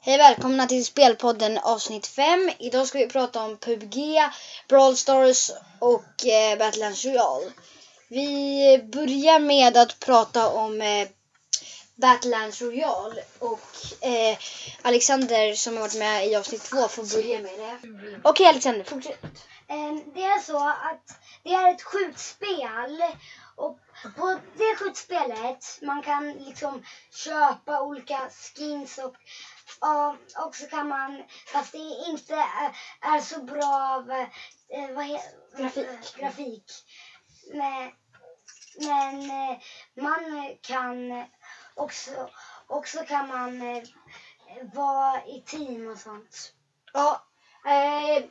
Hej välkomna till Spelpodden avsnitt 5. Idag ska vi prata om PubG, Brawl Stars och eh, Battlelands Royale. Vi börjar med att prata om eh, Battlelands Royale och eh, Alexander som har varit med i avsnitt 2 får börja med det. Okej Alexander, fortsätt. Ehm, Det är så att det är ett skjutspel. Och på det skjutspelet man kan liksom köpa olika skins och, ja, och så kan man, fast det inte är- är så bra av, eh, vad he, grafik. grafik. Men, men eh, man kan också, också kan man eh, vara i team och sånt. Ja, eh,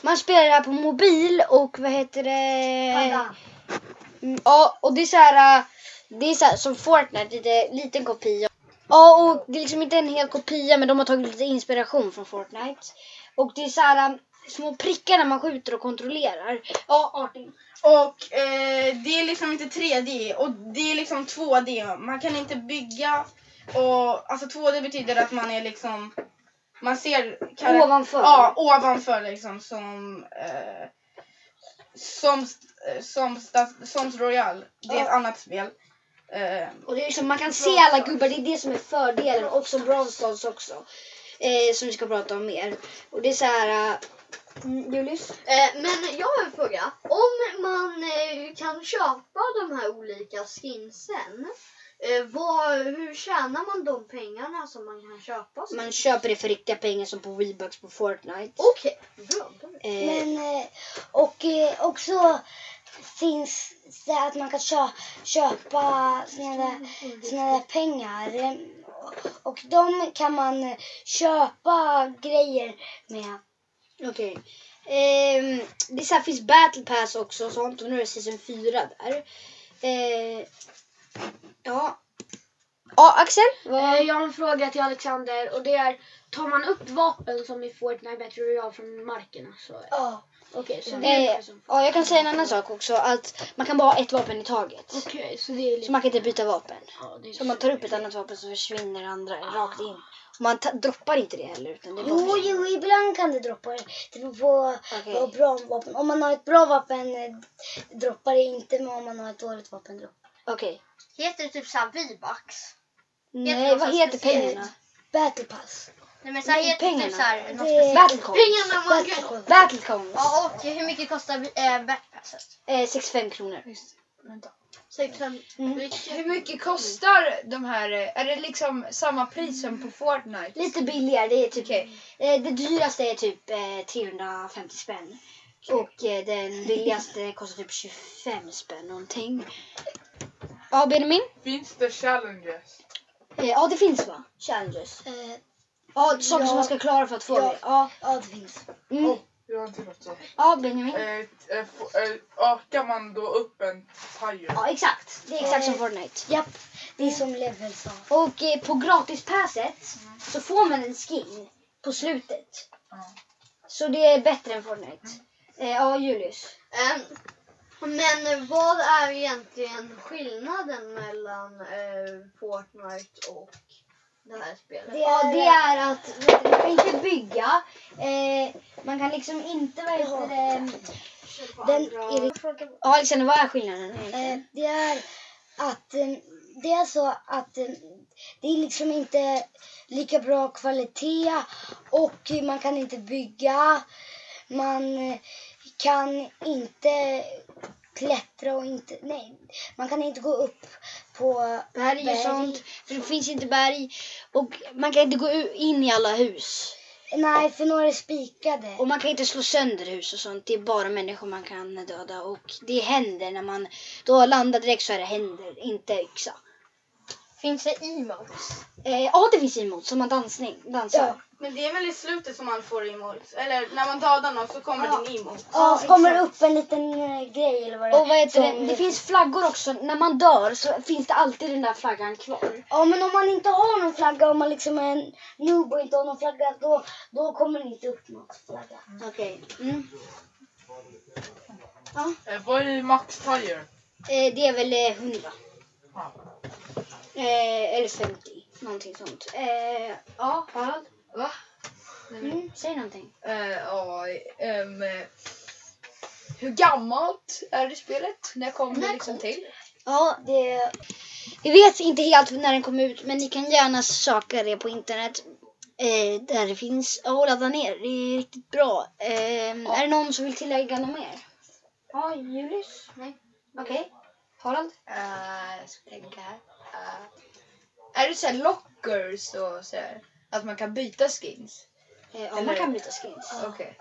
man spelar det här på mobil och vad heter det? Padda. Mm, Ja, och det är så här, äh, det är så här som Fortnite, lite liten kopia. Ja, och det är liksom inte en hel kopia men de har tagit lite inspiration från Fortnite. Och det är så här äh, små prickar när man skjuter och kontrollerar. Ja, Artin. Och eh, det är liksom inte 3D och det är liksom 2D. Man kan inte bygga och alltså 2D betyder att man är liksom man ser karak- Ovanför. Ja, ovanför liksom som eh, som eh, som Stas- som Royal. Det är ett Ja. annat spel. Eh, Och det är liksom, man kan se alla gubbar, det är det som är fördelen. Och som Brawl Stars också. Eh, som vi ska prata om mer. Och det är så här... äh, mm, Julius? Eh, Men jag har en fråga. Om man eh, kan köpa de här olika skinsen, eh, vad, hur tjänar man de pengarna som man kan köpa? sig? Man köper det för riktiga pengar som på Weebucks på Fortnite. Okej, bra. Eh, Men eh, och eh, också finns det att man kan kö- köpa såna där, såna där pengar. eh, Och de kan man eh, köpa grejer med. Okej. Ehm, det är så här, finns battle pass också och sånt och nu är det säsong 4 där. Eh, ja. Ja, Axel? Eh, Jag har en fråga till Alexander och det är tar man upp vapen som i Fortnite Battle Royale från marken? alltså. Så, Ja. okej, så det är Eh, inte som... ja, jag kan säga en annan sak också. Att man kan bara ha ett vapen i taget. Okej, så det är Så lite... man kan inte byta vapen. Ja, det är Så om man tar upp ett annat vapen så försvinner det andra rakt in. Och man ta- droppar inte det heller. Utan det är bara Jo, jo, ibland kan det droppa. Det beror på Okej. vad bra vapen. Om man har ett bra vapen eh, droppar det inte, men om man har ett dåligt vapen droppar det. Okej. Heter det typ såhär V-bucks? Nej, vad heter pengarna? Battle pass. Nej men såhär Nej, heter det typ pengarna. såhär... något Det- speciellt. Battlecoms. Pengarna man Battle kan... pass. Battlecoms. Ja och hur mycket kostar eh, backpasset? Eh, 65 kronor. typ Mm. Hur mycket kostar de här? eh, Är det liksom samma pris som på Fortnite? Lite billigare. Det, är typ, eh, det dyraste är typ eh, 350 spänn. Och eh, den billigaste kostar typ 25 spänn någonting. Ja, Benjamin? Finns det challenges? Eh, ja, det finns va? Challenges. Eh, Ja, saker Ja. som man ska klara för att få Ja. det. Ja, ja, det finns. mm. Jag har inte fått så. ja Benjamin. Eh, eh, få- eh, ökar man då upp en tire? Ja, exakt. Det är exakt som Eh, Fortnite. Japp, det är som Level sa. Och eh, på gratispasset så får man en skin på slutet. Så det är bättre än Fortnite. Mm. Eh, ja, Julius. Ehm, Men vad är egentligen skillnaden mellan eh, Fortnite och det här spelet? Det Ja, är- det är att vet du, man kan inte bygga. Eh, man kan liksom inte... Vad heter det? Den är det, Ja, Alexander, vad är skillnaden? egentligen? eh, det är att eh, det är så att eh, det är liksom inte lika bra kvalitet och man kan inte bygga. Man eh, kan inte klättra och inte, nej, man kan inte gå upp på Berg och berg. sånt. För det finns inte berg. Och man kan inte gå u- in i alla hus. Nej, för några är spikade. Och man kan inte slå sönder hus och sånt. Det är bara människor man kan döda. Och det händer när man då landar direkt så är det händer, inte yxa. Finns det emotes? Eh, ja, det finns emot som man dansning, dansar. Ja. men det är väl i slutet som man får emotes. Eller när man dödar någon så kommer Ja. din emote. Ja, så kommer det upp en liten eh, grej eller vad det Och vad heter som- det? Det finns flaggor också. När man dör så finns det alltid den där flaggan kvar. Ja men om man inte har någon flagga, om man liksom är en noob och inte har någon flagga, då, då kommer det inte upp någon flagga. Okej. Mm. Eh, vad är max tire? Eh, det är väl eh, 100. Ja. Eh, eller 50. Någonting sånt. Eh, ja, Harald? Va? Mm, säg någonting. Eh, ja, ehm, eh, hur gammalt är det spelet? När kom det liksom till? Ja, det... Vi vet inte helt när den kom ut, men ni kan gärna söka det på internet. Eh, där det finns att ladda ner. Det är riktigt bra. Eh, Är det någon som vill tillägga något mer? Ja, Julius? Nej. Okej. Harald? Uh, jag ska tänka här. Eh, är det såhär lockers och sådär? Att man kan byta skins? Eh, ja, Eller- man kan byta skins. Okej.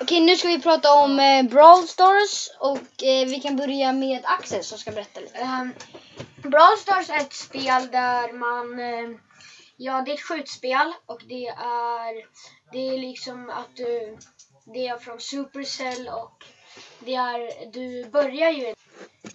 Okej, nu ska vi prata om eh, Brawl Stars och eh, vi kan börja med Axel som ska berätta lite. Eh, Um, Brawl Stars är ett spel där man... eh, ja, det är ett skjutspel och det är... Det är liksom att du... Det är från Supercell och det är... Du börjar ju...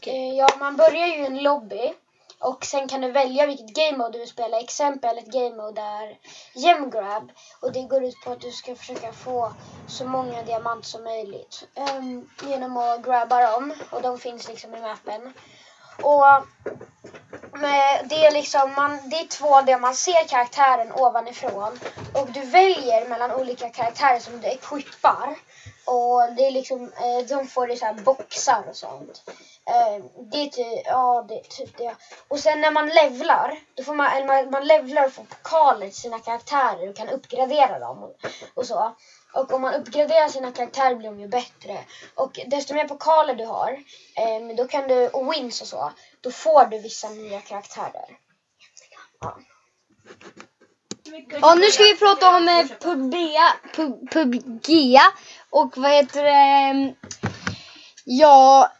Eh, ja, man börjar ju i en lobby. Och sen kan du välja vilket game mode du vill spela. Exempel ett game mode är gem grab. Och det går ut på att du ska försöka få så många diamant som möjligt. ehm, genom att grabba dem. Och de finns liksom i mappen. Och med, det, är liksom, man, det är 2D, man ser karaktären ovanifrån. Och du väljer mellan olika karaktärer som du equippar. Och det är liksom, eh, de får i så här boxar och sånt. Eh, det är typ, ja det är typ det. Och sen när man levlar, då får man, eller man, man levlar och får pokaler till sina karaktärer och kan uppgradera dem och, och så. Och om man uppgraderar sina karaktärer blir de ju bättre. Och desto mer pokaler du har, ehm, då kan du, och wins och så, då får du vissa nya karaktärer. Ja, nu ska vi prata om eh, Pubea, Pub, Pubgia och vad heter det? ehm, Ja,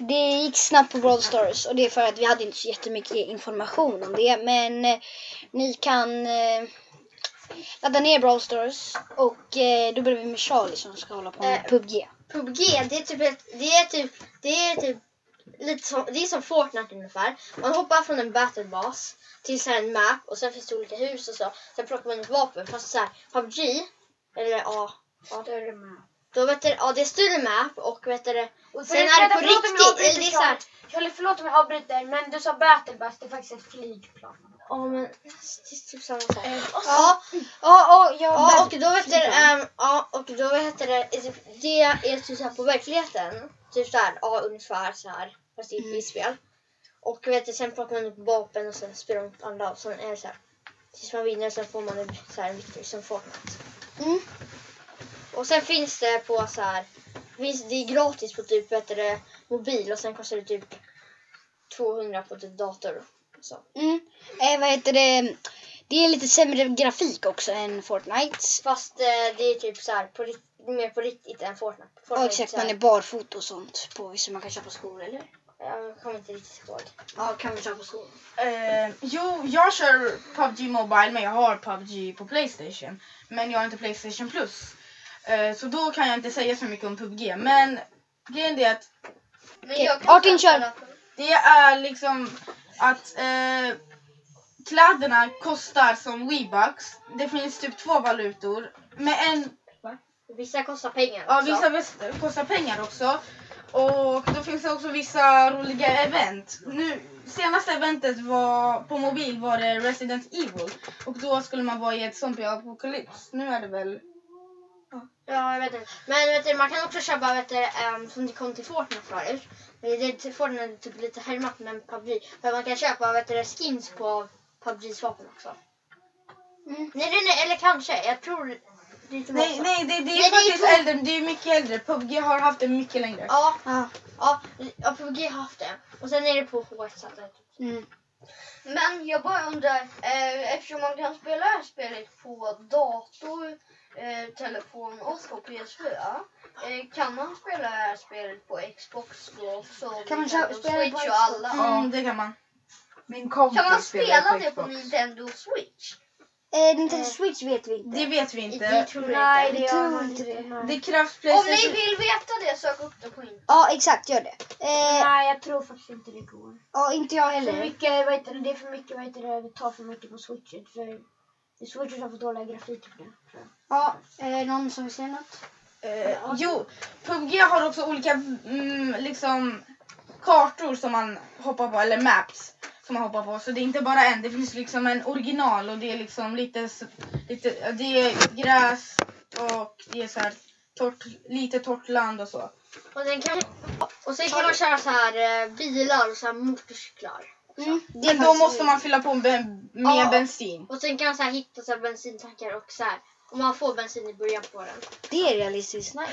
det gick snabbt på Brawl Stars och det är för att vi hade inte så jättemycket information om det. Men eh, ni kan eh, ladda ner Brawl Stars och eh, då börjar vi med Charlie som ska hålla på med Eh, Pubgia. PubG, det är typ ett, det är typ, det är typ lite som, det är som Fortnite ungefär. Man hoppar från en battlebas till så här en map och sen finns det olika hus och så. Sen plockar man ett vapen fast så här PubG, eller ja, Större map. då vet du, ja det är större map och vet du, Och sen är det på förlåt om jag riktigt. avbryter, eller Det är så här, Charlie, förlåt om jag avbryter, men du sa battle bus, det är faktiskt ett flygplan. ja men det är typ samma sak. Ja, ja, ja, Ja och då vet du, ehm, ja och då vet du, det är typ såhär på verkligheten. Typ såhär, ja ungefär såhär. Fast det är ett spel. Och vet du, sen plockar man upp vapen och sen spelar man mot andra och sen är det såhär. Tills man vinner sen får man en så här victory som Fortnite. Mm. Och sen finns det på såhär, finns, det är gratis på typ vet du, mobil och sen kostar det typ 200 på typ dator. Så. Mm. Eh, vad heter det? Det är lite sämre grafik också än Fortnite. Fast eh, det är typ såhär på, rikt- mer på riktigt än Fortnite. Fortnite Ja är exakt, så här- man är barfota och sånt på så man kan köpa skor eller? Jag kommer inte riktigt ihåg. Ja, kan man köpa skor. Eh, jo, jag kör PubG Mobile men jag har PubG på Playstation. Men jag har inte Playstation Plus. Eh, så då kan jag inte säga så mycket om PubG. Men grejen är att Men jag kan Artin kör! det är liksom att eh, kläderna kostar som Weebucks. Det finns typ två valutor. Men en Vissa kostar pengar Ja, också. vissa väst- kostar pengar också. Och då finns det också vissa roliga event. Nu, senaste eventet var, på mobil var det Resident Evil. Och då skulle man vara i ett zombieapokalyps. Nu är det väl... Ja, jag vet inte. Men vet du, man kan också köpa, vet du, ehm, som det kom till Fortnite förut. Men Det är till Fortnite typ lite härmat med PubG. Men man kan köpa, vet du, skins på PubGs vapen också. Nej, nej, nej, eller kanske. Jag tror det är inte Mm. Nej, många. nej det, det är Nej, det är faktiskt två- äldre. Det är mycket äldre. PubG har haft det mycket längre. Ja, ja, ja, PubG har haft det. Och sen är det på hårt så att det- Men jag bara undrar, eh, eftersom man kan spela det här spelet på dator, eh, telefon och på PS4. Eh, kan man spela det här spelet på Xbox då? Så Kan man Nintendo köpa- spela det på Switch och alla? Mm, det kan man. Min kompis Kan man spela spelar det på Xbox. Nintendo Switch? Eh, Nintendo Switch vet vi inte. Det vet vi det inte. tror jag Nej, inte. det gör man inte. inte. Det krävs Om ni Playstation. vill veta det, sök upp det på internet. Ja, exakt, gör det. Eh, Nej, jag tror faktiskt inte det går. ja, inte jag För heller. mycket, vad heter det, det är för mycket, vad heter det, vi tar för mycket på switchet. För switchet har för dåliga grafiker nu. tror jag. Ja, eh, någon som vill säga något? Eh, jo, PubG har också olika mm, liksom, kartor som man hoppar på, eller maps. som man hoppar på. Så det är inte bara en, det finns liksom en original och det är liksom lite, s- lite det är gräs och det är så här torrt, lite torrt land och så. Och sen kan, och sen kan man köra så här eh, bilar och så här motorcyklar. Mm. Det är Men då faktiskt- måste man fylla på ben, med Ja. bensin. Och sen kan man så här hitta så här bensintankar och så här. Och man får bensin i början på den. Det är realistiskt nice.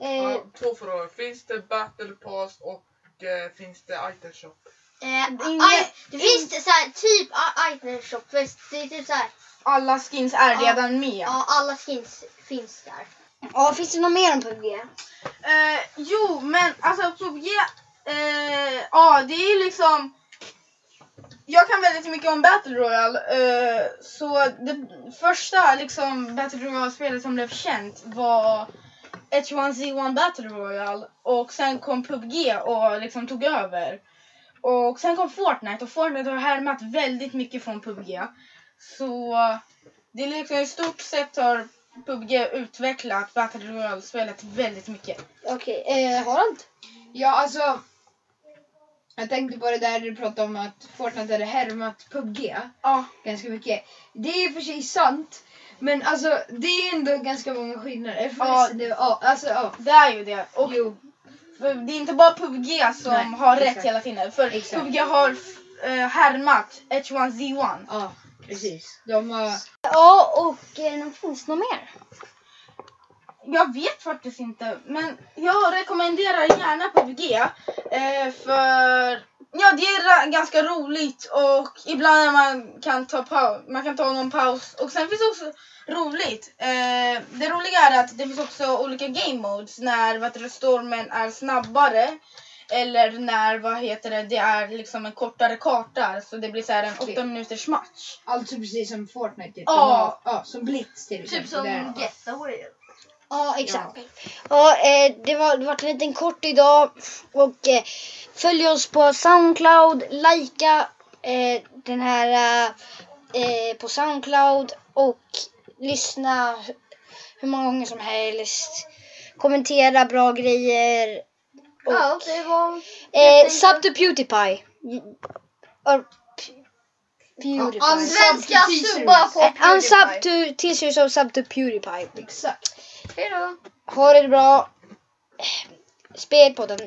Eh, Ja, två frågor. Finns det battle pass och eh, finns det item shop? Eh, Inge- aj, det finns det så här, typ i- item shop. Fast det är typ så här, Alla skins är Ja. redan med. ja, alla skins finns där. ja, finns det något mer än PubG? Eh, jo, men alltså PubG, eh, ja det är ju liksom jag kan väldigt mycket om Battle Royale, eh, så det första liksom, Battle Royale-spelet som blev känt var H1Z1 Battle Royale och sen kom PubG och liksom tog över. Och sen kom Fortnite och Fortnite har härmat väldigt mycket från PubG. Så det är liksom i stort sett har PubG utvecklat Battle Royale-spelet väldigt mycket. Okej, eh, Harald? Ja, alltså. Jag tänkte på det där du pratade om att Fortnite hade härmat PubG Ja. ganska mycket. Det är i och för sig sant. Men alltså det är ändå ganska många skillnader. Ja. Ja. Det, ja, alltså ja. Det är ju det. Och Jo. det är inte bara PubG som Nej, har rätt exakt. hela tiden. För Exakt. PubG har eh, härmat H1Z1. Ja, precis. De har... Ja, och eh, finns det något mer? Jag vet faktiskt inte, men jag rekommenderar gärna PubG. Eh, för ja, det är ra- ganska roligt och ibland när man kan ta paus, man kan ta någon paus. Och sen finns det också roligt. Eh, det roliga är att det finns också olika game modes när vad heter det, stormen är snabbare. Eller när vad heter det, det är liksom en kortare karta så det blir så här en åtta minuters match. Alltså precis som Fortnite. typ. De Ja. har- ja som Blitz till exempel. Typ som Där. Getaway. Ja, exakt. Ja, eh, det var det vart en liten kort idag. Och eh, följ oss på Soundcloud, likea eh, den här eh, på Soundcloud och lyssna hu- hur många gånger som helst. Kommentera bra grejer. Och, Ja, det var... eh, sub to Pewdiepie. Or, Pewdiepie. Svenska subbar på Eh, Unsub Pewdiepie. to T-shirts och sub to Pewdiepie. Exakt. Hejdå. Eh, Ha det bra. Spelpodden.